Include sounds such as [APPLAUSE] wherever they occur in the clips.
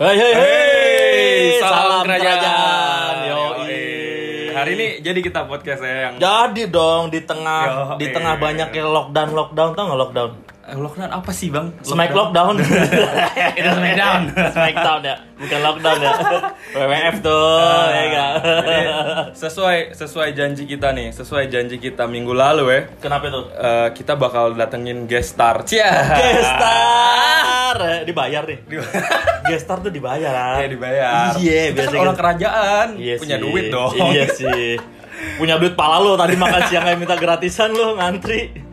Hei hei hei, Hey, salam kerajaan. Yoi. Yoi. Hari ini jadi kita podcast ya yang Jadi dong di tengah Yoi. di tengah banyak yang lockdown lockdown tau nggak lockdown? Eh, lockdown apa sih bang? Smack lockdown. [LAUGHS] Itu smackdown. Smackdown ya, bukan lockdown [LAUGHS] ya. WWF tuh, Ah. ya enggak. Jadi, sesuai sesuai janji kita nih, sesuai janji kita minggu lalu ya. Kenapa itu? eh, kita bakal datengin guest star. Cia. Gestar, Eh, dibayar nih. Gestar tuh dibayar. ah. Ya dibayar. Iya, Kita biasanya kan orang kerajaan, Iya punya sih. duit dong. Iya sih. Punya duit pala lo tadi makan siang kayak minta gratisan lo ngantri.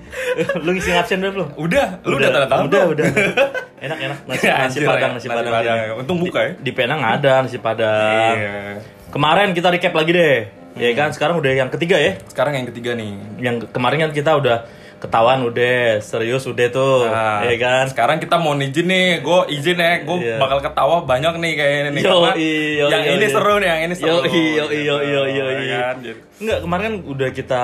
lu ngisi absen berapa belum? Udah, lu udah tanda tangan Udah, belum? udah. [LAUGHS] Enak, enak. Nasi, Ya, nasi anjir, padang, ya. nasi, Nasi padang. padang. sini. Untung buka ya. Di, di Penang ada nasi padang. Iya. Hmm. Kemarin kita recap lagi deh. Ya kan, sekarang udah yang ketiga ya. Sekarang yang ketiga nih. Yang ke- kemarin kan kita udah ketahuan udah, serius udah tuh. Nah, ya kan? Sekarang kita mau izin nih, gue izin ya, gue Iya. bakal ketawa banyak nih kayaknya nih. Yo, Karena yo, yang yo, ini yo. seru nih, yang ini seru. Gitu. Yoi, yoi, yoi, yoi, yoi. Ya kan, jadi- Enggak, kemarin kan udah kita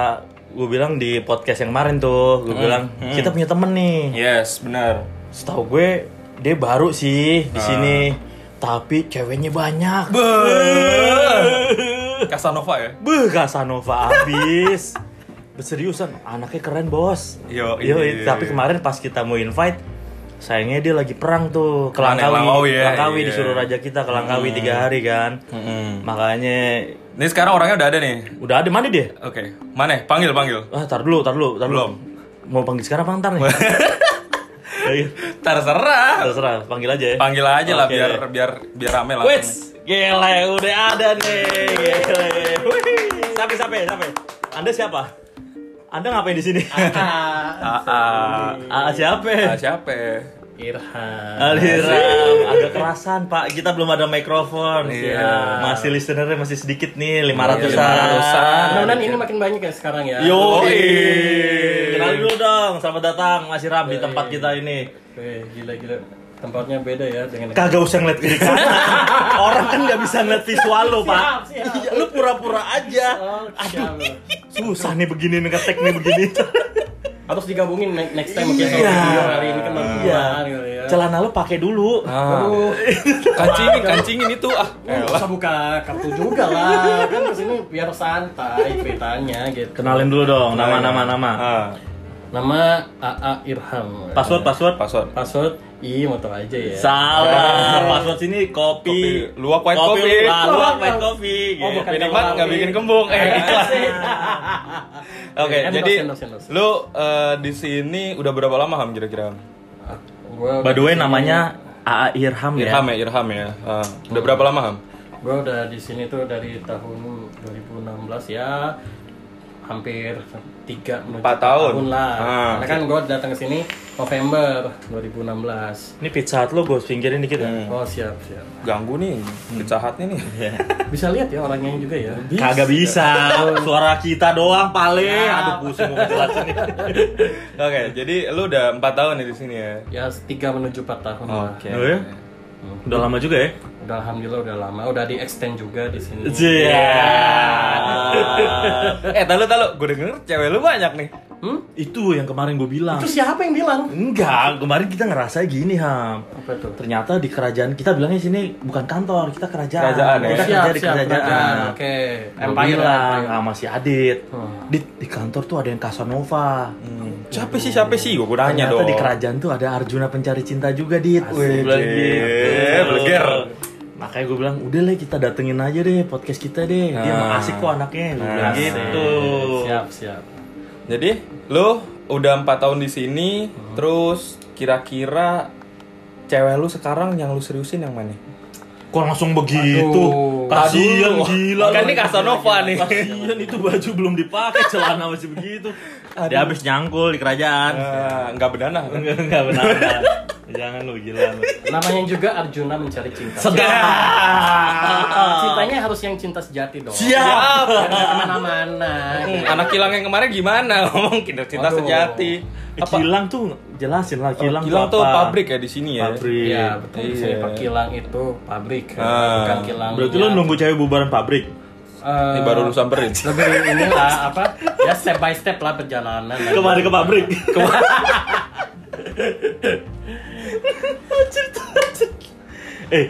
gue bilang di podcast yang kemarin tuh, Hmm. gue bilang kita punya temen nih. Yes, benar. Setahu gue dia baru sih Ah. di sini, tapi ceweknya banyak. Casanova ya. Beuh, Casanova [LAUGHS] abis. Seriusan, anaknya keren bos. Yo, Yo, iya, iya, tapi iya. kemarin pas kita mau invite, sayangnya dia lagi perang tuh ke Mana, Langkawi. Langkawi ya, Langkawi iya. Hmm. disuruh raja kita ke Langkawi tiga hari kan. Makanya Ini sekarang orangnya udah ada nih. udah ada mana dia? Oke, mana? Panggil, panggil. Ah, tar dulu, tar dulu, tar dulu. Belum. Mau panggil sekarang apa ntar [LAUGHS] nih? Ya, Terserah. Terserah, panggil aja ya. Panggil aja lah Oke. biar biar biar rame lah. Wits, gele udah ada nih. Gele. Wih. Sampai sampai sampai. Anda siapa? Anda ngapain di sini? Aa, Ah, siapa? Aa, siapa? ya? Irham. Aliram, agak kerasan Pak. Kita belum ada mikrofon. Ya, Iya. Masih listenernya masih sedikit nih, Iya, 500-an. 500-an. Mudah-mudahan ini makin banyak ya sekarang ya. Yo, Yoi. kenal dulu dong. Selamat datang Mas Iram di tempat kita ini. Eh, gila-gila. Tempatnya beda ya dengan Kagak usah ngeliat kiri kanan. Orang kan nggak bisa ngeliat visual lo, Pak. Siap, siap. Iya, lu pura-pura aja. Oh, sial. Susah nih begini ngetek nih begini. Harus digabungin ne- next time mungkin soal Iya. video hari ini kan makin Iya. kemarin gitu ya. Celana lu pakai dulu. Ah. Aduh, Kancingin, kancingin itu ah. nggak usah buka kartu juga lah. Kan kesini biar santai ceritanya gitu. Kenalin dulu dong nama-nama nama. Ah, Nama AA Irham. Password password. password. Password I motor aja ya. Salah. Password sini kopi. Kopi. Luwak white coffee. Ah, luwak white coffee. Oh, Gitu. bukan Minimal Kalau nggak lagi- bikin kembung. Eh, ikhlas. [LAUGHS] Oke, Eh, endorse, jadi endorse, endorse. lu eh, di sini udah berapa lama ham kira-kira? Gua- By the way namanya AA Irham ya. Irham ya, Irham ya. Ah, udah berapa lama ham? Gue udah di sini tuh dari tahun 2016 ya hampir tiga menuju Empat empat tahun. lah. Ah. Karena kan gue datang ke sini November 2016. Ini pizza hut lo gue pinggirin dikit ya. Oh siap siap. Ganggu nih, pizza Hut-nya nih. Bisa lihat ya orangnya juga ya. Kagak bisa. Suara kita doang paling. Aduh pusing mau ngejelasin. [LAUGHS] Oke, jadi lu udah 4 tahun nih di sini ya. Ya tiga menuju empat tahun. lah. Oke. Oh, ya? Udah lama juga ya. Udah alhamdulillah udah lama. Udah di extend juga di sini. [LAUGHS] eh, tahu tahu gue denger cewek lu banyak nih. Hmm? Itu yang kemarin gue bilang. Itu siapa yang bilang? Enggak, kemarin kita ngerasa gini, Ham. Apa tuh? Ternyata di kerajaan kita bilangnya sini bukan kantor, kita kerajaan. Kerajaan, ya? Kita kerja di kerajaan. kerajaan. Oke. Empire Empire bilang Empire. sama si Adit. Hmm. Dit, di kantor tuh ada yang Casanova. Siapa sih, siapa sih? Gue nanya Ternyata Hmm. dong. di kerajaan tuh ada Arjuna pencari cinta juga, Dit. Wih, Bilang Dit. gitu. Bleger. Makanya gue bilang, udah lah kita datengin aja deh podcast kita deh. Dia emang Nah. asik kok anaknya. Gua bilang Asik. gitu. Siap siap. Jadi, lu udah 4 tahun di sini, terus kira-kira cewek lu sekarang yang lu seriusin yang mana? Kok langsung begitu? Aduh. Kasian Aduh. gila. lu. Kan ini Casanova nih. Kasian itu baju belum dipakai, celana masih begitu. Dia habis nyangkul di kerajaan. Eh, Nggak bedana kan? Enggak, enggak benar. benar. Jangan lu gila lu. Namanya juga Arjuna mencari cinta. Ya. Cintanya harus yang cinta sejati dong. Siap. Jangan kemana-mana. Hmm, kan. Anak kilang yang kemarin gimana? [LAUGHS] Ngomong kinder cinta Aduh. sejati. Kilang tuh jelasin lah kilang, Kilang tuh tuh apa. pabrik ya di sini ya. Pabrik. Iya betul. Di sini Iya. perkilang itu pabrik, Ah. bukan kilang. Iya. Iya. Berarti lu nunggu cewek bubaran pabrik. Ini baru lu samperin. Eh, [LAUGHS] lebih ini lah apa ya step by step lah perjalanan Kemarin ke pabrik. eh,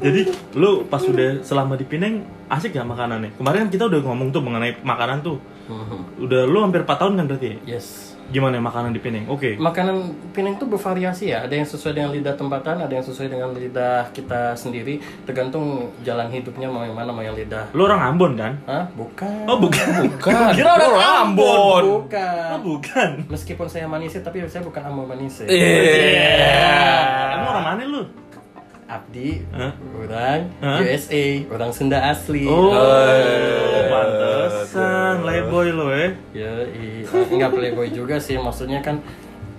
jadi lu pas udah selama di Pineng asik gak makanannya? Kemarin kan kita udah ngomong tuh mengenai makanan tuh. Mhm. Udah lu hampir 4 tahun kan berarti? ya? yes Gimana makanan di Pineng? Oke. makanan Pinang tuh bervariasi ya. Ada yang sesuai dengan lidah tempatan, ada yang sesuai dengan lidah kita sendiri. Tergantung jalan hidupnya mau yang mana, mau yang lidah. Lu orang Ambon kan? Hah? Bukan. Oh, bukan. Bukan. Kira orang Gua Ambon. Bukan. Oh, [LAUGHS] bukan. Meskipun saya manisnya, tapi saya bukan amo manisnya. Iya. Iya. Emang orang mana lu? Abdi, Hah? orang Hah? USA, orang Sunda asli. Oh, Eh, pantesan playboy lo eh. Ya, i- nggak playboy juga sih. Maksudnya kan,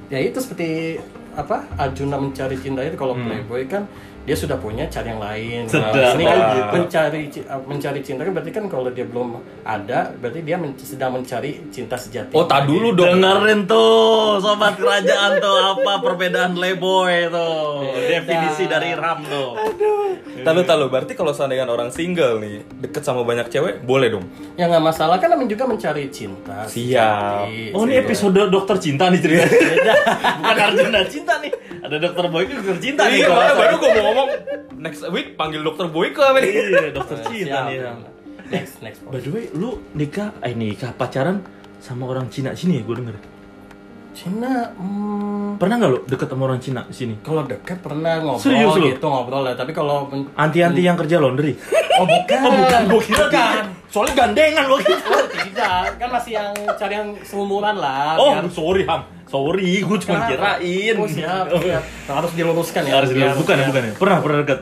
ya itu seperti apa Arjuna mencari cinta itu Hmm. kalau playboy kan dia sudah punya cari yang lain. Sedap. ini kan Wah. mencari ci- mencari cinta kan berarti kan kalau dia belum ada berarti dia men- sedang mencari cinta sejati. Oh, tak dulu dong. Dengerin tuh sobat kerajaan tuh apa perbedaan playboy tuh. Oh, Definisi dari Ram tuh. Tahu tahu berarti kalau seandainya orang single nih deket sama banyak cewek boleh dong. Ya nggak masalah kan namanya juga mencari cinta. Siap. sejati. Oh ini episode dokter cinta nih ceritanya. Beda. Bukan Arjuna cinta nih. Ada dokter boy ke dokter cinta nih. Iya, kalau makanya nggak baru salah. gue mau ngomong next week panggil dokter Boyke apa nih? Iya dokter cinta Siap. nih. Ram. Next next. By the way, lu nikah, eh nikah pacaran sama orang Cina sini ya gue denger. Cina. hmm, Pernah nggak lu deket sama orang Cina sini? kalau dekat pernah ngobrol Serius lu? gitu ngobrol lah tapi kalau men- Anti-anti yang kerja laundry. oh bukan [LAUGHS] Oh bukan, gue kira Bukan. kan. Soalnya gandengan gue kira. Oh, tidak, kan masih yang cari yang seumuran lah. Oh, biar- sorry Ham. Sorry, gue cuma Kenapa? kirain. iya. Oh, siap, siap. Nah, harus diluruskan ya. Harus dilihat. biar- Bukan ya, biar- bukan ya. Pernah, pernah deket.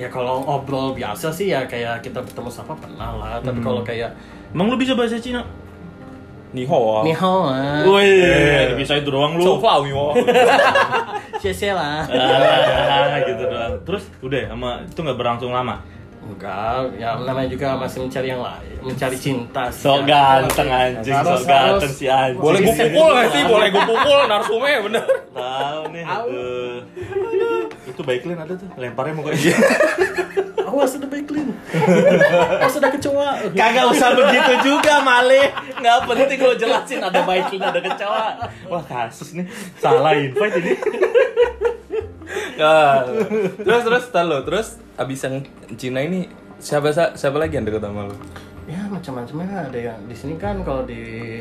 Ya kalau obrol biasa sih ya kayak kita bertemu sama pernah lah, tapi Hmm. kalau kayak Emang lu bisa bahasa Cina? Ni Oh. hao. ni hao ah, Wih, bisa itu doang Eh, lu. So far, we were. xie xie [LAUGHS] lah. Ah, gitu doang. Terus udah sama itu nggak berlangsung lama. Enggak, ya namanya juga masih mencari yang lain, mencari cinta. sih, So ya. ganteng anjing, so Harus- ganteng harus- si anjing. Boleh gue pukul nggak sih? Boleh gue pukul narsumnya bener. Tahu nih. Au. aduh. Itu baik ada tuh, lemparnya mau kayak Awas ada backlink. Awas ada kecoa. [LAUGHS] Kagak usah begitu juga, Male. Nggak penting lo jelasin ada baikin, ada kecewa. Wah, kasus nih. Salah invite ini. Ah. Terus terus tar lo terus abis yang Cina ini siapa sa- siapa lagi yang deket sama lo? ya macam-macamnya ada yang di sini kan kalau di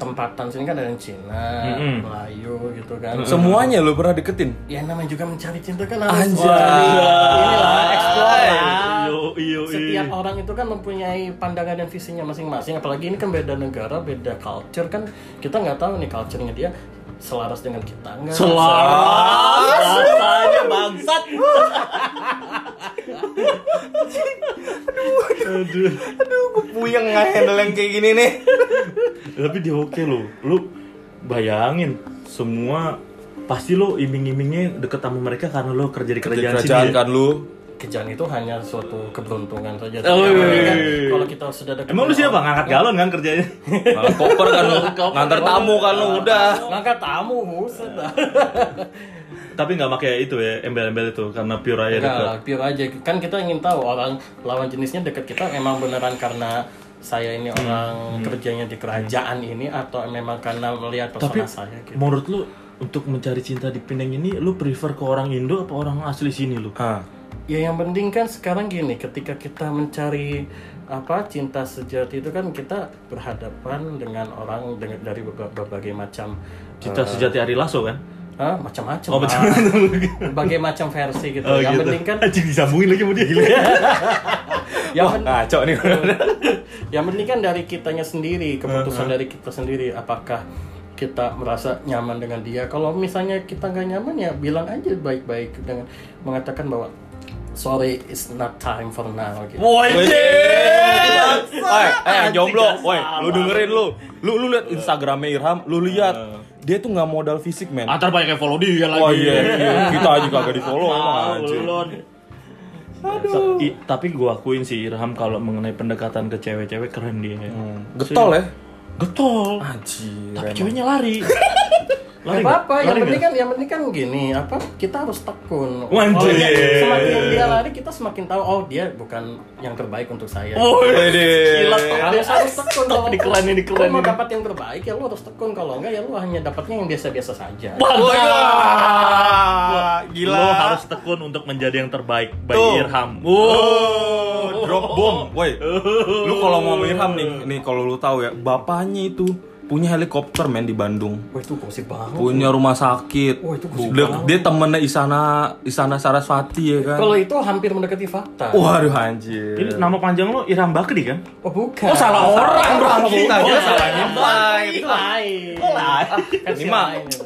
tempatan sini kan ada yang Cina, Mm-mm. Melayu gitu kan. Semuanya lo pernah deketin? Ya namanya juga mencari cinta kan harus Anjay. Wah, inilah explore lah. Ah, iya. Yo, yo, yo. Setiap orang itu kan mempunyai pandangan dan visinya masing-masing. Apalagi ini kan beda negara, beda culture kan kita nggak tahu nih culture-nya dia selaras dengan kita nggak. Selaras rasanya bangsat. Aduh. Aduh, gue puyeng nggak handle yang kayak gini nih. Tapi dia oke lo. Lu bayangin semua pasti lo iming-imingnya deket sama mereka karena lo kerja di kerjaan, Kerjaan sini. kan lo? Kejadian itu hanya suatu keberuntungan saja. Oh, iya, Tapi kan iya, iya. kalau kita sudah dekat Emang lu Iya. dengan siapa ngangkat galon kan kerjanya? [LAUGHS] Malah koper kan lo, ngantar tamu kan lo udah. Ngangkat tamu, buset Iya. dah. Tapi nggak pakai itu ya embel-embel itu karena pure aja Enggak deket. lah, pure aja. Kan kita ingin tahu orang lawan jenisnya dekat kita emang beneran karena saya ini Hmm. orang kerjanya di kerajaan ini atau memang karena melihat Tapi persona saya gitu. menurut lu untuk mencari cinta di Penang ini lu prefer ke orang Indo apa orang asli sini lu? Ah. Ya yang penting kan sekarang gini, ketika kita mencari apa cinta sejati itu kan kita berhadapan dengan orang dengan dari berba- berbagai macam Cinta sejati Ari Lasso kan? Hah? macam-macam. Oh, lah. macam-macam. berbagai macam versi gitu. Oh, yang gitu. penting kan Anjing, disambungin lagi sama dia gila. yang pen- Ngaco Ya, nih. yang penting kan dari kitanya sendiri keputusan dari kita sendiri apakah kita merasa nyaman dengan dia kalau misalnya kita nggak nyaman ya bilang aja baik-baik dengan mengatakan bahwa sorry it's not time for now gitu Woi, Woi, eh, Anjing, eh, jomblo, dasar. woi, lu dengerin lu, lu lu liat Instagramnya Irham, lu lihat dia tuh nggak modal fisik men. Antar banyak yang follow dia lagi. Wah Ah, iya, iya. kita aja kagak di follow emang Mau anjir. ulun. I- tapi gua akuin sih Irham kalau mengenai pendekatan ke cewek-cewek keren dia. Getol ya? Getol. Anjir. Tapi emang. [LAUGHS] ceweknya lari. Lari nggak? Gak apa-apa, yang Lari penting nggak? kan yang penting kan gini, apa kita harus tekun. Wajib. Kalau dia- Semakin dia lari kita semakin tahu oh dia bukan yang terbaik untuk saya. Woi, Wede. gila Harus harus tekun iya, Stop, kalau- dikelanin, kalau dikelanin. mau dapat yang terbaik ya lu harus tekun kalau enggak ya lu hanya dapatnya yang biasa-biasa saja. Oh, iya. Wah, gila. Lo harus tekun untuk menjadi yang terbaik by Tuh. Irham. Wow. Oh, drop bomb. Woi. Lu kalau mau Irham nih, nih kalau lu tahu ya, bapaknya itu punya helikopter men di Bandung. Wah itu gosip banget. Punya rumah sakit. Wah, itu gosip dia, banget. dia temennya Isana Isana Saraswati ya kan. Kalau itu hampir mendekati fakta. Oh. Waduh anjir. Ini nama panjang lo Irham Bakri kan? Oh bukan. Oh, salah orang, bro. Iya. Kita aja Bukan. salahnya. Lain. Lain. Ah, Kan Ini si mah- ya? lain itu.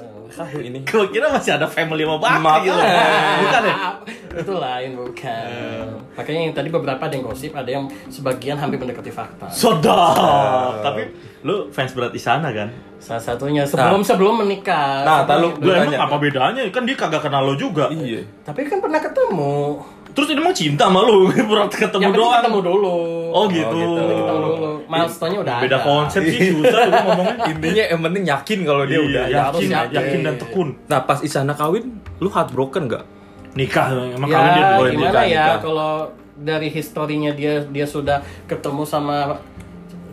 ini. Gue kira masih ada family sama Maaf. Bakri gitu. [LAUGHS] Bukan ya? Eh. Itu lain bukan. Makanya yang tadi beberapa ada yang gosip, ada yang sebagian hampir mendekati fakta. Sedap. Tapi lu fans berat Isana kan? Salah satunya sebelum sebelum menikah. Nah, tak lu Lu lu emang tanya. apa bedanya? Kan dia kagak kenal lo juga. Iya. Tapi kan pernah ketemu. Terus ini mau cinta sama lu, [LAUGHS] pernah Ya, kan ketemu yang penting doang. ketemu dulu. Oh gitu. Iya. Oh, gitu. Ketemu dulu. Milestone-nya udah Beda ada. konsep sih susah lu ngomongnya. Intinya yang penting yakin kalau dia Iya, udah ya. yakin, harus yakin. yakin dan tekun. Nah, pas Isana kawin, lu heartbroken gak? Nikah emang ya, kawin dia dulu ya. gimana nikah, ya nikah. kalau dari historinya dia dia sudah ketemu sama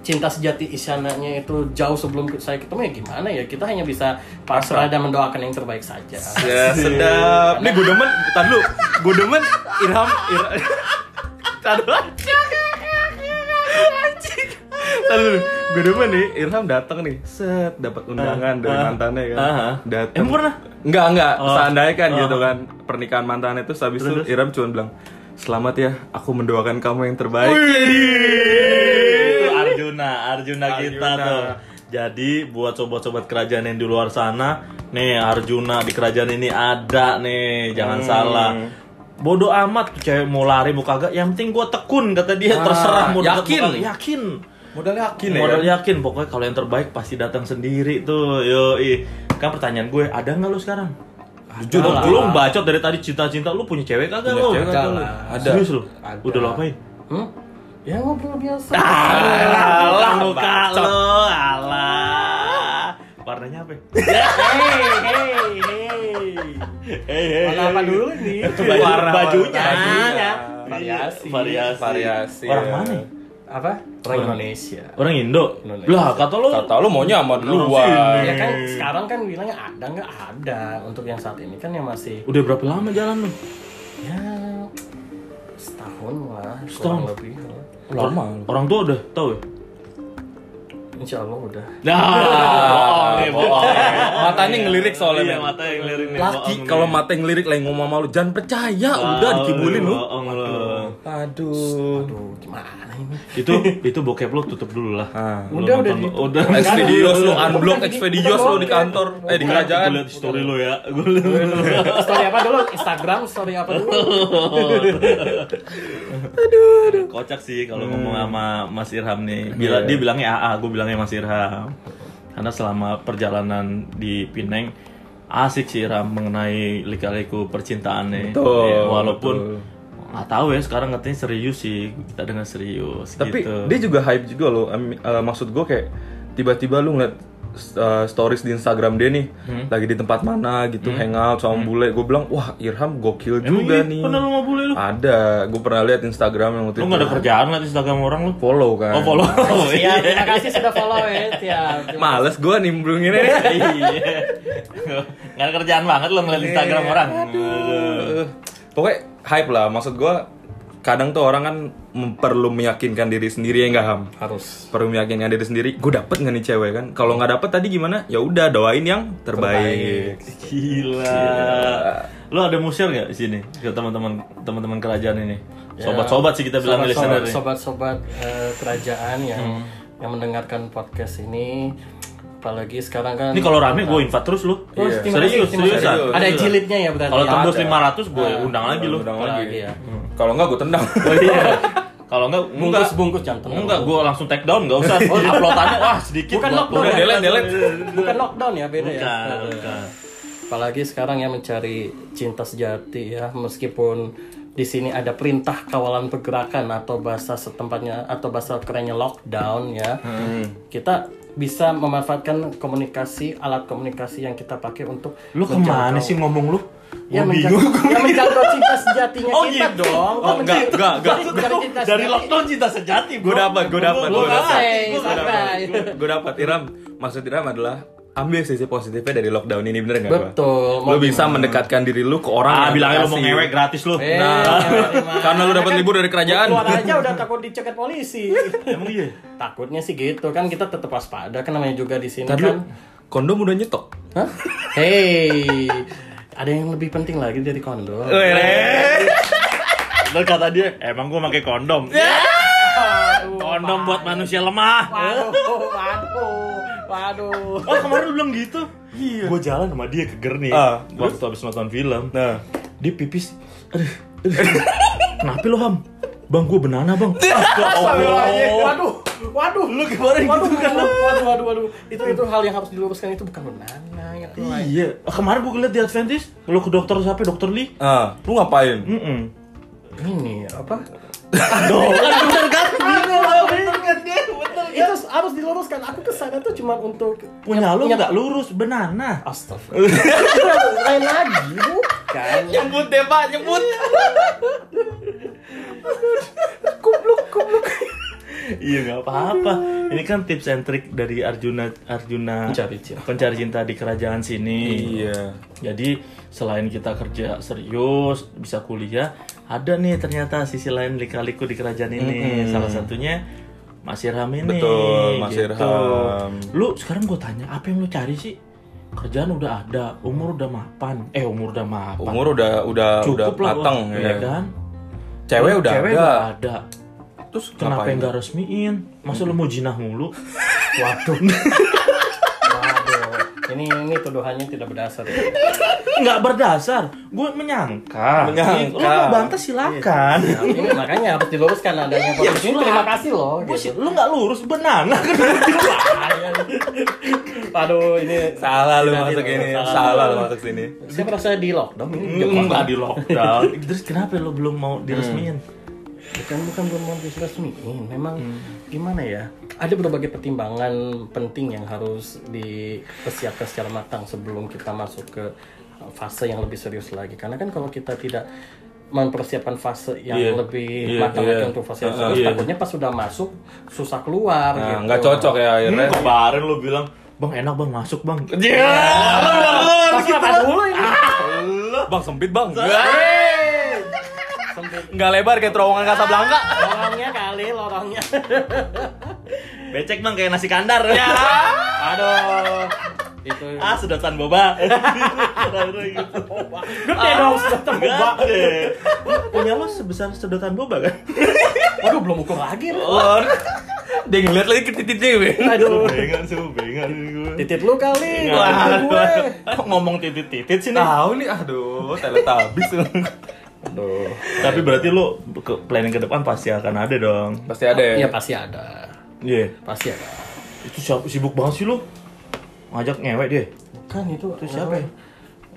cinta sejati isananya itu jauh sebelum saya ketemu ya gimana ya kita hanya bisa pasrah dan mendoakan yang terbaik saja Ya sedap. Nih gue demen, bentar dulu. Gue demen Irham Ir Tadu Tadu Gue demen nih Irham datang nih. Set dapat undangan dari Ah, mantannya kan. ah. Datang. Emang pernah? Enggak, enggak. Oh. Seandainya kan Oh. gitu kan pernikahan mantannya terus habis itu Terus? Irham cuma bilang, "Selamat ya, aku mendoakan kamu yang terbaik." Itu Arjuna, Arjuna kita Arjuna. tuh. Jadi buat sobat-sobat kerajaan yang di luar sana, nih Arjuna di kerajaan ini ada nih, Hmm. jangan salah. Bodoh amat tuh cewek mau lari mau kagak, yang penting gua tekun kata dia Ah, terserah mau deket, yakin. mau kagak, yakin. Modal yakin ya. Modal kan? yakin pokoknya kalau yang terbaik pasti datang sendiri tuh. Yoi. Kan pertanyaan gue, ada nggak lu sekarang? lu, Jujur, lah. lu bacot dari tadi cinta-cinta lu punya cewek kagak Punya lu? cewek kagak lu? Ada. Serius lu? Ada. Udah lo apain? hmm? ya ngobrol [LAUGHS] biasa Alah, muka bacot. lo, alah. Warnanya apa? ya? hey hey hey warna apa dulu [LAUGHS] nih Baju, Warna- bajunya. Bajunya. Variasi. Variasi. Variasi. Variasi. Orang mana? ya? apa orang Indonesia Orang Indo. Indonesia. Lah, kata lo. Kata lu maunya sama sini. luar. Iya ya kan sekarang kan bilangnya ada nggak ada untuk yang saat ini kan yang masih Udah berapa lama jalan lo? ya setahun lah Setahun. kurang lebih ya. Lama. Orang tua udah tahu ya? insya Allah udah Nah, bohong nih, bohong. Matanya ngelirik soalnya. Iya, men. mata yang ngelirik nih. Laki kalau mata yang lirik lagi ngomong sama lu jangan percaya, udah dikibulin lu. Bohong lu. Aduh. aduh gimana ini Itu itu bokep lo tutup dulu lah. Ah. Lu Udah, udah nonton- di- udah. Expedios lu Bukan, unblock jadi- Expedios lu di kantor, eh di kerajaan. Gue liat story lo ya. Gue liat. [LAUGHS] story apa dulu Instagram story apa dulu kocak sih kalau Hmm. ngomong sama Mas Irham Iya, nih. Bila dia bilangnya AA, gue bilangnya Mas Irham. Karena selama perjalanan di Pineng asik sih Irham mengenai lika-liku percintaannya. Betul, Ya, walaupun betul. nggak tahu ya sekarang katanya serius sih kita dengar serius Tapi gitu. dia juga hype juga loh. Am- eh, maksud gue kayak tiba-tiba lu ngeliat eh, stories di Instagram dia nih Hmm. lagi di tempat mana gitu hangout sama bule. Gue bilang, "Wah, Irham gokil Emang juga iya? nih." Pernah lu mau boleh lu? Ada, gue pernah lihat Instagram yang waktu Lu itu. nggak ada kerjaan lah di Instagram orang lu? follow kan. Oh follow. [LAUGHS] ya terima kasih sudah follow ya tiap Males gue [LAUGHS] nimbrungin ini. Iya. Nggak ada kerjaan banget lu ngeliat Instagram orang. Eh, pokoknya hype lah maksud gua kadang tuh orang kan mem- perlu meyakinkan diri sendiri ya nggak ham harus perlu meyakinkan diri sendiri gue dapet nggak nih cewek kan kalau nggak dapet tadi gimana ya udah doain yang terbaik, Gila. Lo ada mau share nggak di sini ke teman-teman teman-teman kerajaan ini? Ya. Sobat-sobat sih kita bilang Hmm. listener sobat-sobat nih. sobat-sobat eh, kerajaan yang yang mendengarkan podcast ini apalagi sekarang kan Ini kalau rame gue invite terus lo. Oh, Iya. terima Serius, kasih, terima kasih. seriusan. Iya. serius. ada jilidnya ya berarti Kalau ya? tembus ada. 500 gue Nah, undang lagi lo. Undang Lagi lagi Oh, iya. ya. Hmm. kalau nggak gue [LAUGHS] tendang Kalau enggak, enggak. bungkus bungkus jantung Enggak, gue langsung take down, enggak [LAUGHS] usah. Uploadannya wah sedikit. bukan Gua udah lockdown upload. ya, delete, delete. bukan lockdown ya beda ya Bukan, bukan. apalagi sekarang ya mencari cinta sejati ya meskipun di sini ada perintah kawalan Hmm. pergerakan atau bahasa setempatnya atau bahasa kerennya lockdown ya kita bisa memanfaatkan komunikasi alat komunikasi yang kita pakai untuk Lu kemana menjangkau- sih ngomong lu? Ya, Gua menjangkau, ya menjangkau cinta sejatinya Oh, kita gitu. dong. Oh, enggak, enggak, enggak. Dari, dari cinta Dari sejati. lockdown cinta sejati. Gua dapat, gua dapat, Lu gua dapat. santai, Hey, gua santai. dapat. gue dapat Iram maksud Iram adalah ambil sisi positifnya dari lockdown ini bener nggak gua? Betul. lo bisa mendekatkan diri lu ke orang Ah, yang bilangnya lu mau dikasih. ngewek gratis lu. Eh, [LAUGHS] Nah, jangan dimarahin. karena lu dapat libur dari kerajaan. Keluar aja udah takut dicegat polisi. Emang iya. Takutnya sih gitu kan kita tetap waspada kan namanya juga di sini Ntar dulu, kan. kondom udah nyetok. Hah? Hey, ada yang lebih penting lagi dari kondom. Terus kata dia, emang gua pakai kondom. Kondom buat manusia lemah. Eh. Waduh, Oh, waduh, waduh. Oh kemarin lu bilang gitu? Iya. Gue jalan sama dia ke Gerni. Ah, waktu habis nonton film. Nah, Dia pipis. Aduh, aduh. [LAUGHS] Kenapa lo ham? Bang gue benana bang. Ah, Waduh, gua- oh. Waduh, waduh, lu kemarin waduh, gitu kan? Waduh, waduh, waduh, itu itu hal yang harus diluruskan itu bukan menana ya. Lai. Iya. Ah, Kemarin gue liat di Adventist. Lo ke dokter siapa? Dokter Lee. ah, lu ngapain? Mm-mm. Ini apa? Aduh, kan bener kan? Itu harus diluruskan. Aku kesana tuh cuma untuk Punya lo nggak lurus Nah, benana. Astagfirullah. Lain lagi, bukan. Nyebut deh pak, nyebut. Iya nggak apa-apa. Ini kan tips and trick dari Arjuna Arjuna Pencari cinta. pencari cinta di kerajaan sini. Iya. Jadi selain kita kerja serius, bisa kuliah, ada nih ternyata sisi lain lika-liku di kerajaan ini. Salah satunya Mas Irham ini. Gitu. Betul, Mas Irham. Lu sekarang gue tanya, apa yang lu cari sih? Kerjaan udah ada, umur udah mapan. Eh, umur udah mapan. Umur udah udah udah Cukup lah gua, matang iya ya. kan? Cewek udah Cewek ada. udah ada. Terus Kenapa ngapain? yang gak resmiin? Masa lu mau jinah mulu? Waduh. [LAUGHS] Waduh. Ini ini tuduhannya tidak berdasar. Ya. nggak berdasar. Gue menyangka. Iya. Lu Menyangka. mau bantah silakan. Ini makanya harus diluruskan adanya Iya, podcast ini. Terima kasih loh. Gua sih, Gitu. lu nggak lurus benana [LAUGHS] kan? Waduh, ini Salah lu Tidak, masuk tidak, ini, salah. salah lu masuk sini. Saya merasa di lockdown ini. Di lockdown. Enggak di lockdown. [LAUGHS] Hmm. Terus kenapa lu belum mau diresmiin? bukan bukan belum mau diresmiin memang Hmm. gimana ya ada berbagai pertimbangan penting yang harus dipersiapkan secara matang sebelum kita masuk ke fase yang lebih serius lagi karena kan kalau kita tidak mempersiapkan fase yang Iya. Iya, lebih iya. matang lagi untuk fase yang Ah, serius iya. takutnya pas sudah masuk susah keluar Nah, gitu. nggak cocok ya akhirnya. Hmm, Kemarin lu bilang, "Bang, enak Bang, masuk Bang." Iya. Pas apa dulu ini Bang sempit bang. Nggak lebar kayak terowongan kata Belangka. lorongnya kali lorongnya Becek Bang kayak nasi [LAUGHS] kandar. aduh itu Ya. Ah, sedotan [LAUGHS] boba. gitu. Ah. gede dong sudah terbuka eh. Punya lu sebesar sedotan boba kan? waduh belum ukur lagi Ren. Dia ngeliat lagi ke titiknya gue. aduh Bengan, bengan gue. Titit lu kali, Wah, Ah, gua gue. Kok ngomong titit-titit sih nih? Tahu nih, aduh, teletabis. aduh. Tapi berarti lu ke planning ke depan pasti akan ada dong. Pasti ada ya. Iya pasti ada, Iya. pasti ada. Itu siapa sibuk banget sih lu? Ngajak ngewek dia. Kan itu itu siapa ya?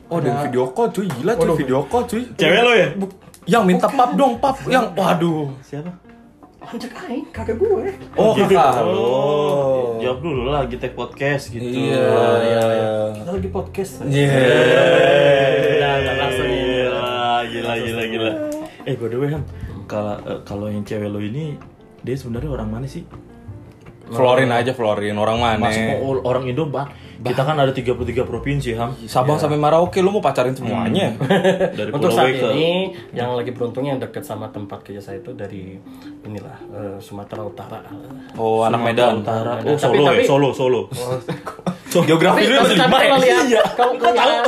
Oh, dari video call cuy, gila cuy Waduh. video call cuy. Cewek lu ya? Bu- yang minta pap dong, pap. Yang waduh. Siapa? Anjek aing, kakek eh. gue. Oh, Gitu. kakak. lu. Oh. Jawab dulu lah kita podcast gitu. iya. Kita lagi podcast. Iya. Udah, udah langsung ya. Gila, gila, gila, gila. Eh, by the way, Ham, kalau eh, kalau yang cewek lu ini dia sebenarnya orang mana sih? Florin aja Florin, orang mana? Mas mau orang Indo, Bang. Kita kan ada 33 provinsi, Ham. Sabang sampai Merauke lu mau pacarin semuanya. [LAUGHS] Hmm. Dari Untuk Pulau eh. saat W ke ini yang lagi beruntung yang dekat sama tempat kerja saya itu dari inilah eh, Sumatera Utara. oh, anak Medan. Utara. Ada. Oh, Tapi- Solo, tapi- ya? Solo, Solo. [LAUGHS] Geografi lu masih lima ya? kalau lihat, Iya. kalau lihat,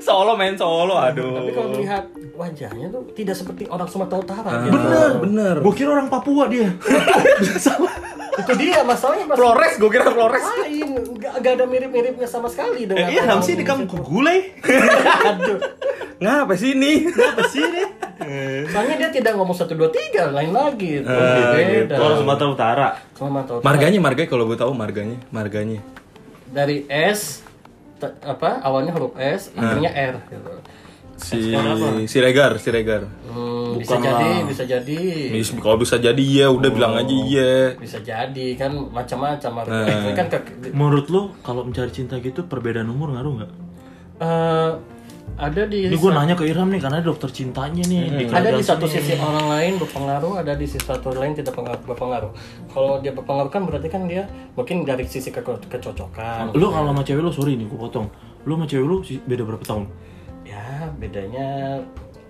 Solo main Solo, aduh. tapi kalau lihat wajahnya tuh tidak seperti orang Sumatera Utara. Ah. gitu. Bener, bener. Gue kira orang Papua [LAUGHS] dia. Itu dia masalahnya Mas. Flores, gue kira Flores. Lain, nggak nggak ada mirip-miripnya sama sekali dengan. Iya, Ham orang sih di kamu Indonesia. gulai. Aduh. Ngapa sih ini? Apa sih [LAUGHS] nih? Soalnya dia tidak ngomong satu dua tiga lain lagi. Itu Gitu. Kalau Sumatera Utara. Sama tahu. Marganya, marganya kalau gue tahu marganya, marganya. Eh. Dari S te- apa awalnya huruf S akhirnya R. Gitu. si Siregar Siregar Hmm, bisa jadi, bisa jadi. Mis- kalau bisa jadi ya udah bilang aja iya Bisa jadi kan macam-macam Eh. argumen. Ini kan ke, Menurut lo kalau mencari cinta gitu perbedaan umur ngaruh nggak? eh, ada di Ini gue nanya ke Iram nih karena dia dokter cintanya nih di ada kerajaan di satu sini. sisi orang lain berpengaruh, ada di sisi satu lain tidak pengaruh- berpengaruh. Kalau dia berpengaruh kan berarti kan dia mungkin dari sisi ke- kecocokan. Lo kalau sama cewek lo sorry nih gue potong. Lo sama cewek lo si- beda berapa tahun? Ya bedanya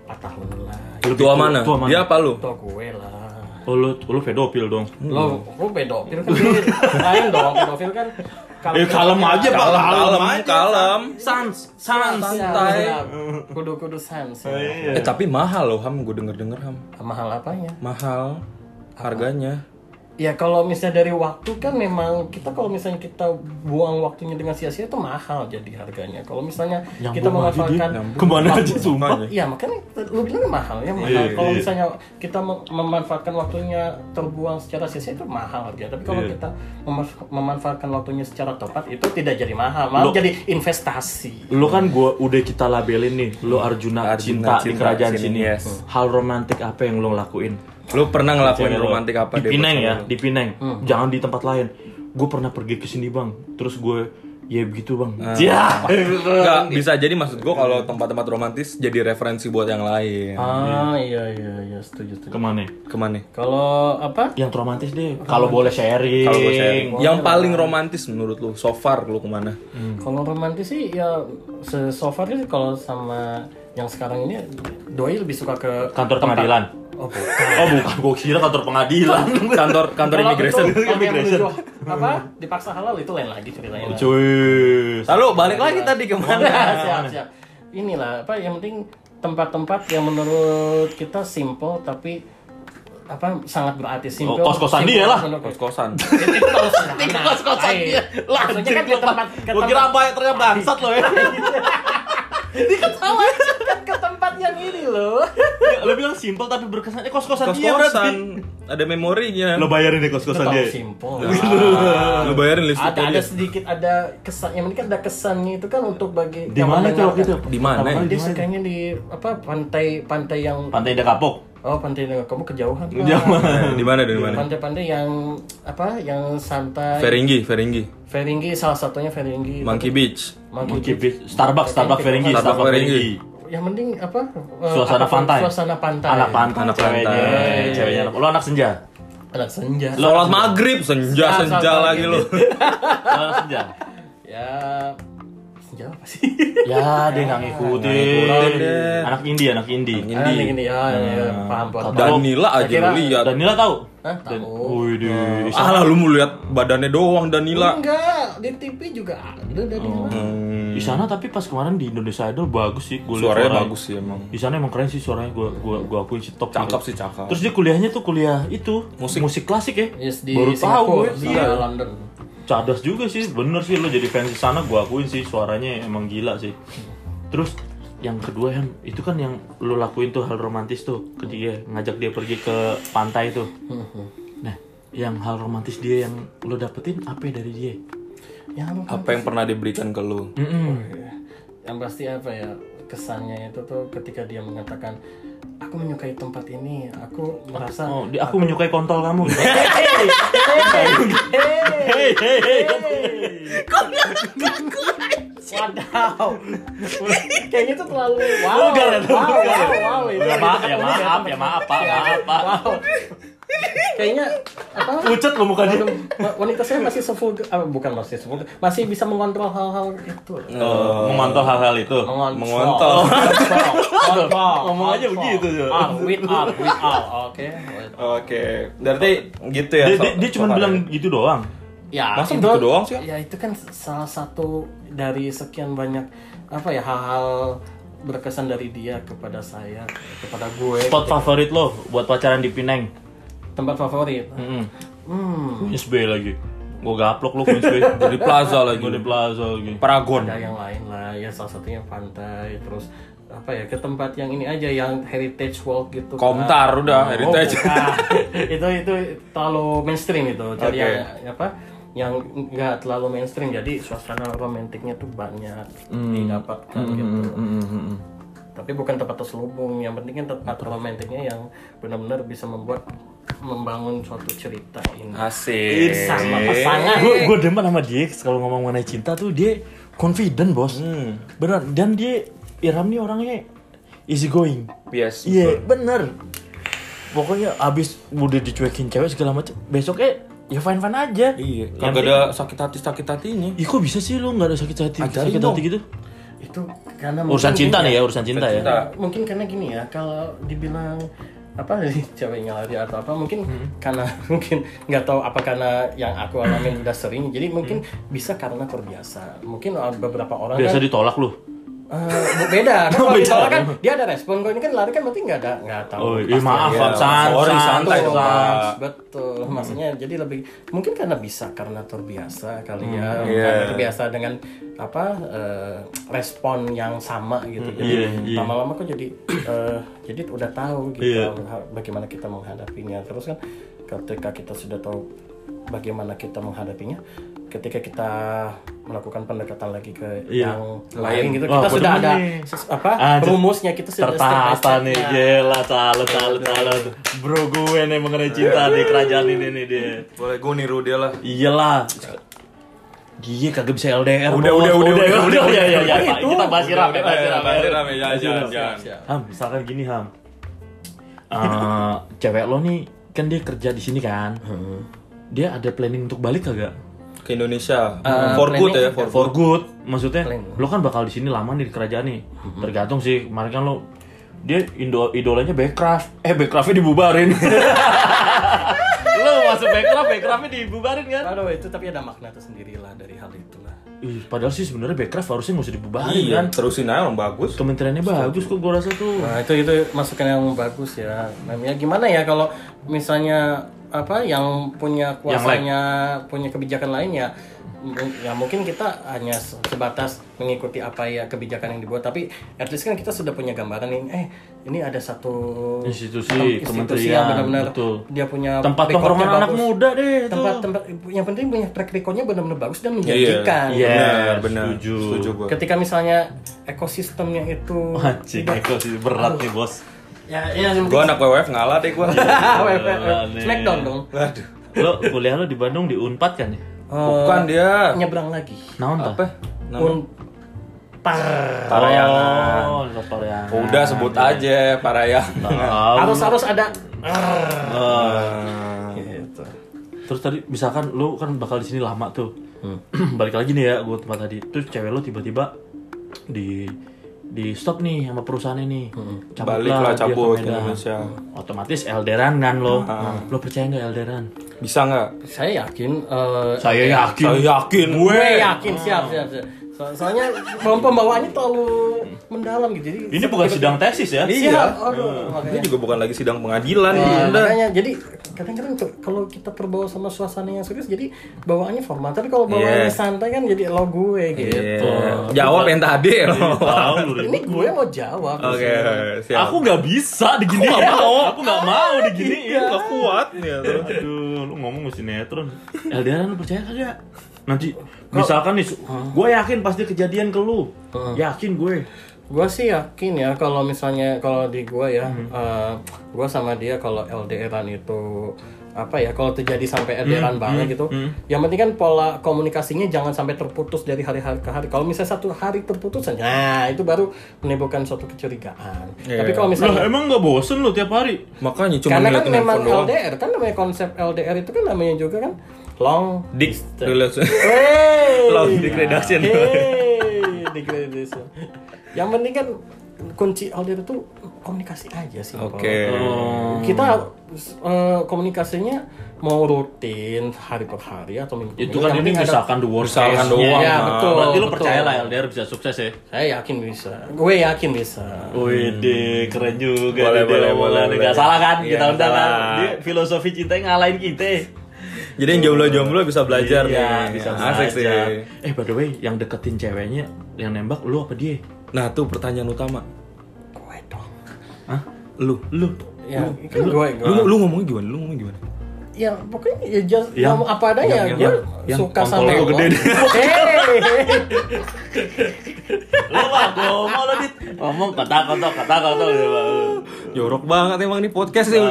4 tahun lah. tua mana? tua mana? dia apa lu Itu gue lah. Oh, lo lo pedofil dong. Lo, lo pedofil kan dia lain dong. Pedofil kan kalau Iya, Eh kalem aja pak, Kalem, kalem kalem, aja. kalem. Sans, sans. santai. Kudu-kudu sans. eh ya. tapi mahal loh ham gue denger denger ham Mahal apanya? mahal harganya Ya kalau misalnya dari waktu kan memang kita kalau misalnya kita buang waktunya dengan sia-sia itu mahal jadi harganya. Kalau misalnya kita memanfaatkan Kemana aja sumpah? Iya makanya lu bilang mahal ya mahal. Iya, kalau misalnya kita mem- memanfaatkan waktunya terbuang secara sia-sia itu mahal harganya. Tapi Iya. kalau kita memanfa- memanfaatkan waktunya secara tepat itu tidak jadi mahal, Lo- malah jadi investasi. Lo kan gua udah kita labelin nih, lo Arjuna, cinta, Arjuna di cinta kerajaan sini, sini. Hmm. yes. Hal romantik apa yang lo lakuin? lu pernah ngelakuin Cewek lo. romantik apa Hmm. di deh, Pineng buat ya cewek di Pineng jangan di tempat lain gue pernah pergi ke sini bang terus gue ya begitu bang Ah. [LAUGHS] ya lu? Nggak, bisa jadi maksud gue kalau tempat-tempat romantis jadi referensi buat yang lain Ah iya iya iya setuju setuju. kemana kemana Kalau apa? yang romantis deh kalau boleh sharing kalau gue sharing Iya, yang paling romantis menurut lu so far lu kemana Hmm. Kalau romantis sih ya se- so far sih kalau sama yang sekarang ini doi lebih suka ke kantor pengadilan Oh, [LAUGHS] bukan. oh bukan gue kira kantor [LAUGHS] pengadilan kantor kantor Kalau imigrasi itu orang yang Immigration. Oh, menuju apa dipaksa halal itu lain lagi ceritanya. cuy lalu balik lagi tadi kemana Nah, siap siap. Inilah apa yang penting tempat-tempat yang menurut kita simple tapi apa sangat berarti simple. Oh, kos-kosan Simple dia lah. kos menurut- kosan Itu kalau sederhana. Lain. Maksudnya kan ke tempat ke gue tempat- kira apa ya ternyata bangsat lo [LAUGHS] ya Ini kan sama aja, kan ke tempat yang ini loh. lo bilang simpel tapi berkesan eh kos kosan kos dia berarti kosan ada memorinya lo bayarin deh kos Itu kosan terlalu dia [LAUGHS] Nah. simple. Ah. lu bayarin ada listriknya ada dia. sedikit ada kesan yang penting kan ada kesannya itu kan untuk bagi di yang mana itu waktu itu mendengarkan. Nah, Di mana? Pertama kali di dia sukanya di apa pantai pantai yang pantai Dekapok oh pantai yang kamu kejauhan Nah, Pak. Eh, di mana di mana pantai-pantai yang apa yang santai Feringgi Feringgi Feringgi salah satunya Feringgi Monkey Beach Monkey Beach, Starbucks, Starbucks Feringgi, Starbucks Starbucks Feringgi. Feringgi. yang penting apa eh, Suasana apa- pantai. suasana pantai Anak pantai, Anak ceweknya, pantai. ceweknya. anak- Lo anak senja, anak senja Sholat maghrib Ah, senja senja sholat lagi lu maghrib. lo anak senja. ya senja apa sih Ya, dia nggak ngikutin. Anak indie, anak indie. Anak Ah, Indi. ini ya, ya, paham paham Danila aja Saya kira- lu lihat Danila tahu? Hah, Dan, tahu. wih, di ah lah lu mau lihat badannya doang Danila Enggak, di TV juga ada dari mana? di sana tapi pas kemarin di Indonesia Idol bagus sih, gue suaranya bagus sih emang Di sana emang keren sih suaranya, gue gue gue akuin sih top. cakep gitu. sih cakep Terus dia kuliahnya tuh kuliah itu musik, klasik ya. Yes, di Baru tahu Singapura, gue. di Iya. London. Cadas juga sih, bener sih lo jadi fans di sana gue akuin sih suaranya emang gila sih. Terus yang kedua Hem, itu kan yang lo lakuin tuh hal romantis tuh ke dia, ngajak dia pergi ke pantai tuh. Nah, yang hal romantis dia yang lo dapetin apa dari dia? Ya, apa yang pernah diberikan ke lu yang pasti apa ya kesannya itu tuh ketika dia mengatakan aku menyukai tempat ini, aku merasa Oh, dia, aku menyukai kontol kamu. Hei, Wadaw. Kayaknya itu terlalu wow. Vulgar ya, wow, vulgar ya. wow, wow, itu. ya maaf, ya maaf, ya maaf, pak, maaf, pak. Wow. Kayaknya apa? Pucet lo muka dia. Wa- wanita saya masih sevulgar, ah, bukan masih sevulgar, masih bisa mengontrol hal-hal itu. Eh, Oh, mengontrol hal-hal itu. Oh, mengontrol. Mengontrol. Mengontrol. Ngomong aja Mengontrol. begitu, Jo. Ah, with all, with all, oke. Oke, berarti gitu ya. Dia, so- dia, dia cuma so- bilang gitu doang. Ya, Masa gitu doang sih? Ya itu kan salah satu dari sekian banyak apa ya hal-hal berkesan dari dia kepada saya, kepada gue. Spot favorit lo buat pacaran di Pineng. Tempat favorit. Mm-mm. Hmm. Queens Bay lagi. Gue gaplok lo Queens [LAUGHS] Bay. dari plaza lagi. Gue di plaza lagi. Paragon. ada Hmm. yang lain lah ya salah satunya pantai terus apa ya ke tempat yang ini aja yang heritage walk gitu Komtar udah Oh, heritage. bukan. [LAUGHS] itu itu terlalu mainstream itu jadi Oke. yang apa yang nggak terlalu Hmm. mainstream jadi suasana romantiknya tuh banyak didapatkan gitu tapi bukan tempat terselubung yang penting kan tempat romantisnya yang benar-benar bisa membuat membangun suatu cerita ini Asik. sama pasangan gue gue demen sama dia kalau ngomong mengenai cinta tuh dia confident bos Hmm. bener dan dia Iram nih orangnya easy going Yes. iya bener pokoknya abis udah dicuekin cewek segala macam besoknya ya fine fine aja Iya. Yang Kagak penting- ada sakit hati sakit hatinya. Ih kok bisa sih lu nggak ada sakit hati Ajarin sakit hati dong. gitu itu karena urusan mungkin Iya. cinta dia- nih ya urusan cinta ya Cinta. mungkin karena gini ya kalau dibilang apa [LAUGHS] cewek nyelari atau apa mungkin Hmm. karena [LAUGHS] mungkin nggak tahu apa karena yang aku alamin udah sering jadi mungkin bisa karena terbiasa mungkin uh, beberapa orang Hmm. biasa kan, ditolak lu eh, bu- [LAUGHS] beda kan kalau Beda. ditolak kan dia ada respon kalau ini kan lari kan berarti nggak ada nggak tahu oh iya pasti maaf ada. Pak, san ya. Sorry, san, santai san. dong, Pak. Ah, Betul, Hmm. maksudnya jadi lebih mungkin karena bisa karena terbiasa kali Hmm. ya, iya. karena terbiasa dengan apa eh, respon yang sama gitu. Jadi iya, iya. lama-lama kok jadi [CLEARS THROAT] eh, jadi udah tahu gitu Iya. ha- bagaimana kita menghadapinya. Terus kan ketika kita sudah tahu bagaimana kita menghadapinya, ketika kita melakukan pendekatan lagi ke Iya. yang Lain. lain gitu, Wah, kita gua sudah demen ada nih. ses- apa Ah, jadi rumusnya kita sudah step by tertata nih Iya. iya. stepnya. gila salut salut salut bro gue nih mengenai cinta nih kerajaan ini nih dia Boleh gue niru dia lah. iyalah dia kagak bisa LDR Udah, Bos. udah, udah, udah udah, udah udah, ya ya udah, ya udah, Pak. itu. kita bahas Iram Udah, bahas udah, Iram, bahas ya. Iram, ya, jangan, Bahas Iram. jangan, jangan. ham misalkan gini ham Eh, cewek lo nih kan dia kerja di sini kan Hmm. dia ada planning untuk balik kagak Ke Indonesia. Eh, for good ya, planning- for, for good maksudnya Planning. lo kan bakal di sini lama nih di kerajaan nih Mm-hmm. tergantung sih kemarin kan lo dia indo idolanya Backcraft eh Backcraftnya dibubarin [LAUGHS] lo masuk Backcraft Backcraftnya dibubarin kan Aduh itu tapi ada makna tersendiri lah dari hal itu lah. Ih, padahal sih sebenarnya Backcraft harusnya nggak usah dibubarin kan Iya, terusin aja orang bagus. kementeriannya bagus kok gue rasa tuh Nah itu itu masukan yang bagus ya. Namanya gimana ya kalau misalnya apa yang punya kuasanya punya kebijakan lain ya m- ya mungkin kita hanya se- sebatas mengikuti apa ya kebijakan yang dibuat tapi at least kan kita sudah punya gambaran nih eh ini ada satu Institusi, institusi kementerian, yang benar-benar betul. dia punya tempat recordnya tongkrongan anak bagus. muda deh itu tempat tempat yang penting punya track recordnya benar-benar bagus dan menjanjikan Iya, Benar, benar. setuju. Setuju gue. ketika misalnya ekosistemnya Oh, itu anjing itu sih berat nih bos ya ya yang [LAUGHS] Gue anak WWF ngalah deh gue. Iya. Ah, wait, wait, Gila wait. nih. Smackdown dong. Eh, Aduh. lo kuliah lo di Bandung di Unpad kan ya Bukan dia. Eh, Nyebrang lagi. naon tah? Apa? Nama- Un par. Parayangan. oh iya. lo Parayangan. Udah sebut aja Parayangan. Tahu. Harus harus ada. "Arr." Oh. Eh, Gitu. Terus tadi misalkan lu kan bakal di sini lama tuh. [CLEARS THROAT] Balik lagi nih ya gua tempat tadi. Terus cewek lu tiba-tiba di di stop nih sama perusahaan ini. Cabut Balik dia lah ke cabut ke Medan. Indonesia. Ah. Otomatis elderan kan lo. Lo percaya nggak elderan? Bisa nggak? Saya yakin. eh, Saya yakin. Saya yakin Gue gue. yakin siap siap siap. So- soalnya pem- pembawaannya terlalu mendalam gitu. Jadi Ini bukan sidang tesis ya? Iya. Iya. Aduh, Ini makanya. juga bukan lagi sidang pengadilan. Nah, Bunda. makanya jadi kadang-kadang tuh kalau kita terbawa sama suasana yang serius jadi bawaannya formal tapi kalau Iya. bawaannya santai kan jadi lo gue gitu Iya. Jawab yang tadi [LAUGHS] loh. Tahu lu Rin. ini gue mau jawab Oke, siap. Aku nggak bisa diginiin. Aku nggak mau. Aku nggak mau diginiin. nggak kuat Ya, nih. aduh. Aduh, lu ngomong mesti netron. LDR lu percaya kagak? Nanti misalkan nih, gue yakin pasti kejadian ke lu. Yakin gue. Gua sih yakin ya kalau misalnya kalau di gua ya, Hmm. eh, gua sama dia kalau LDRan itu apa ya kalau terjadi Hmm, sampai LDRan banget gitu, yang penting kan pola komunikasinya jangan sampai terputus dari hari hari ke hari. Kalau misalnya satu hari terputus aja, nah itu baru menimbulkan suatu kecurigaan. Iya. Tapi kalau Lah misalnya emang nggak bosen lu tiap hari? Makanya cuma karena kan ngeliatin memang handphone doang. LDR kan namanya konsep LDR itu kan namanya juga kan long Dik, relation. [LAUGHS] Hey! Long degradation. Hey, degradation. Yang penting kan kunci order itu komunikasi aja sih. Oke. Oh. Paul. Kita eh, komunikasinya mau rutin hari per hari atau minggu. per Itu minggu. kan Yang ini penting ada- misalkan the worst Misalkan case-nya. doang, Ya, Bang. betul. Berarti lu betul. percaya lah LDR bisa sukses ya? Saya yakin bisa. Gue yakin bisa. Wih, Hmm. keren juga. Boleh, Dede, boleh, omongan. boleh, Nggak boleh. salah kan? Iya, kita nggak undang kan? salah. Dia filosofi cinta yang ngalahin kita. Jadi yang jomblo-jomblo bisa belajar Iya, nih. bisa Asik sih. belajar. Eh, by the way, yang deketin ceweknya, yang nembak lu apa dia? Nah, tuh pertanyaan utama. Gue dong. Hah? Lu, lu, Ya, kan gue, gue. lu, lu ngomongnya gimana? Lu ngomongnya gimana? ya pokoknya ya just Yang- ngomong apa adanya yang- gue yang- suka yang sama kontol lo. gede deh. [LAUGHS] Hey. Lu mah gua mau lo dit. ngomong kata kotok kata kotok gitu Pak. Jorok banget emang nih podcast nih.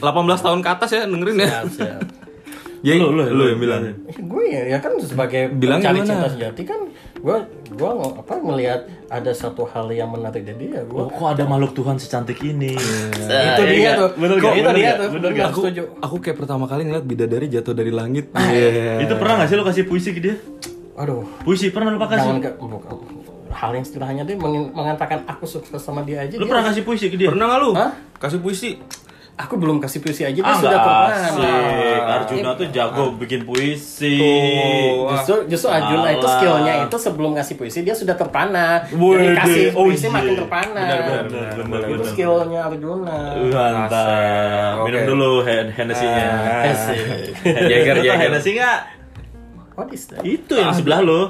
18 tahun ke atas ya dengerin ya. [LAUGHS] Siap, siap. Ya, Lu, lu, lu yang bilang. gue ya, ya kan sebagai Bilang pencari gimana? cinta sejati kan gue gue ng- apa ngelihat ada satu hal yang menarik dari dia gue Oh, kok ada makhluk Tuhan secantik ini? Iya, itu Iya, dia tuh Bener Kok gak? itu Bener dia gak? tuh Bener Bener, gak? Aku, setuju aku kayak pertama kali ngeliat bidadari jatuh dari langit. Iya. Itu pernah gak sih lo kasih puisi ke dia? aduh Puisi pernah lo jangan kasih? ke bukan. hal yang sederhananya dia meng- mengatakan aku sukses sama dia aja Lo dia- pernah kasih puisi ke dia? Pernah nggak lu? Hah? Kasih puisi. aku belum kasih puisi aja dia Ah, sudah nggak pernah asik. Arjuna tuh jago bikin puisi. Tuh. Justru, justru Arjuna itu Alah. skillnya itu sebelum ngasih puisi dia sudah terpana. Jadi Wede, kasih oh puisi iya. makin terpana. benar, Bener, benar, bener, Itu bener. skillnya Arjuna. Mantap. Asik. Minum Oke. dulu Hen- Hennessy-nya. Asik. Jager, Lo tau jager. Hennessy nggak? What is that? Itu yang sebelah lo.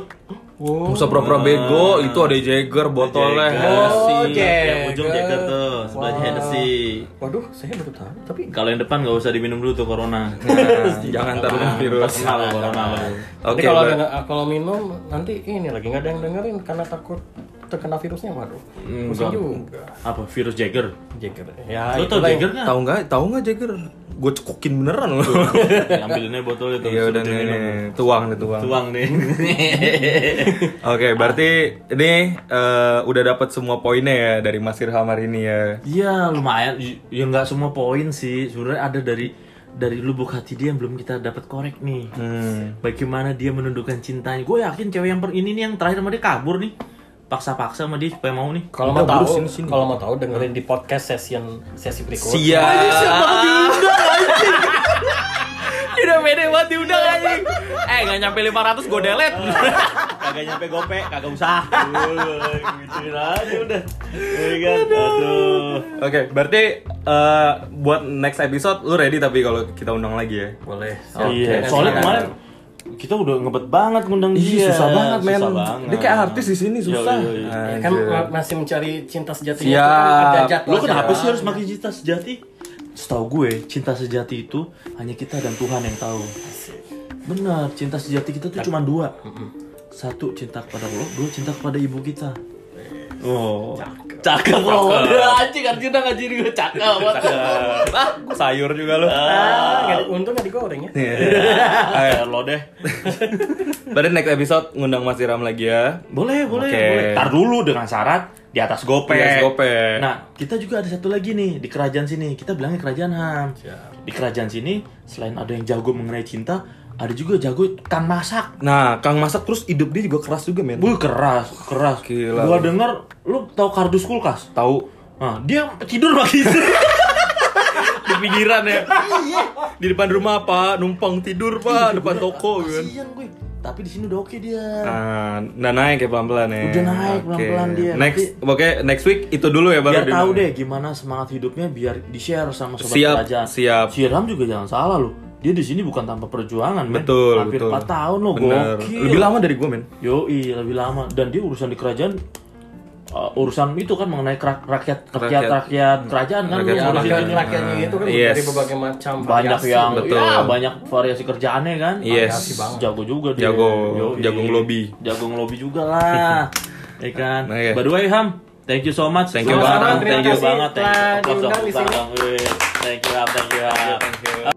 Nggak usah pura-pura Oh. bego, itu ada Jagger botolnya. Jager. Oh, Jager. Yang ujung Jager tuh, sebelahnya Wow. Hennessy. Waduh, saya baru tahu. Tapi Kalau yang depan nggak usah diminum dulu tuh Corona. Nah, [LAUGHS] jangan terlalu virus. Terkenal lo, Corona. lo. Oke, nanti kalau Mbak. denger- kalau minum nanti ini lagi nggak ada yang dengerin karena takut terkena virusnya waduh. Pusing Enggak. juga. Apa virus Jager? Jager. Ya, Lo tau itulah yang- Jager nggak? [LAUGHS] Tahu nggak? Tahu nggak Jagger? Gue cekokin beneran loh. Ambilinnya botolnya tuh. [LAUGHS] Iya udah nih, seperti nih, ini. tuang nih tuang. Tuang nih. Oke, berarti ini eh, udah dapat semua poinnya ya dari Mas Irham hari ini ya. Iya lumayan. Y- Ya nggak semua poin sih. Sebenarnya ada dari dari lubuk hati dia yang belum kita dapat korek nih. Hmm. Bagaimana dia menundukkan cintanya? Gue yakin cewek yang per ini nih yang terakhir sama dia kabur nih. Paksa-paksa sama dia supaya mau nih. Kalau mau Udah, tahu, bro, sini, sini. kalau mau tahu dengerin di podcast session sesi berikutnya. [LAUGHS] Siap. Udah pede banget diundang anjing. Eh nggak nyampe 500 gue delete. Kagak nyampe gope, kagak usah. Gituin aja udah. Oh my God, Aduh. Oke, berarti eh, buat next episode lu ready tapi kalau kita undang lagi ya. Boleh. Iya, soalnya kemarin kita udah ngebet banget ngundang dia. susah banget Iya, Susah men. banget. Dia kayak artis di sini susah. Yoi, yoi. Ya Anjir. kan ma- masih mencari cinta sejatinya Siap. itu kan ada Lo jadwalnya. kenapa sih harus makin cinta sejati? Setahu gue, cinta sejati itu hanya kita dan Tuhan yang tahu. Benar, cinta sejati kita tuh cuma dua. Satu cinta kepada Allah, dua cinta kepada ibu kita. Oh, Cakep loh. Udah anjing Arjuna ngajin gue cakep. Sayur juga lu. [LAUGHS] Ah, nggak di- untung nggak digoreng ya. Iya, kayak lo deh. Berarti next episode ngundang Mas Irham lagi ya. Boleh, boleh, Oke. boleh. Tar dulu dengan syarat di atas gope. Di atas gope. Nah, kita juga ada satu lagi nih di kerajaan sini. Kita bilangnya kerajaan Ham. Di kerajaan sini selain ada yang jago mengenai cinta, ada juga jago tukang masak. Nah, Kang Masak terus hidup dia juga keras juga men. Wih keras, keras. Gila. Gua denger lu tahu kardus kulkas? Tahu. Nah, dia tidur pagi itu. Di pinggiran ya. Iya. Di depan rumah Pak, numpang tidur Pak, [LAUGHS] depan toko gitu kan. Kasian gue. Tapi di sini udah oke dia. Ah, udah naik ya pelan-pelan ya. Udah naik Oke. pelan-pelan dia. Next, oke next week itu dulu ya baru Biar tahu di- deh gimana semangat hidupnya biar di-share sama sobat Siap, kerajaan. siap. Siram juga jangan salah loh. Dia di sini bukan tanpa perjuangan, men. Betul, Hampir betul. 4 tahun loh, Bener. gokil. Lebih lama dari gue men. Yoi, lebih lama. Dan dia urusan di kerajaan uh, urusan itu kan mengenai kera- rakyat rakyat rakyat kerajaan kan Hmm. Rakyat yang Ya, ngurusin rakyat ini. rakyatnya itu kan Yes. dari berbagai macam banyak variasi. yang betul. ya, banyak variasi kerjaannya kan Yes. Variasi banget. jago juga dia Jago. Yoi. Jago ngelobi. jago ngelobi juga [LAUGHS] lah ya kan Oke. by the way Ham thank you so much Thank you Selamat banget. datang. Terima thank you kasih banget thank you telah Applause, diundang di applause, applause. Wih. thank you Ham thank you Ham Thank you, thank you.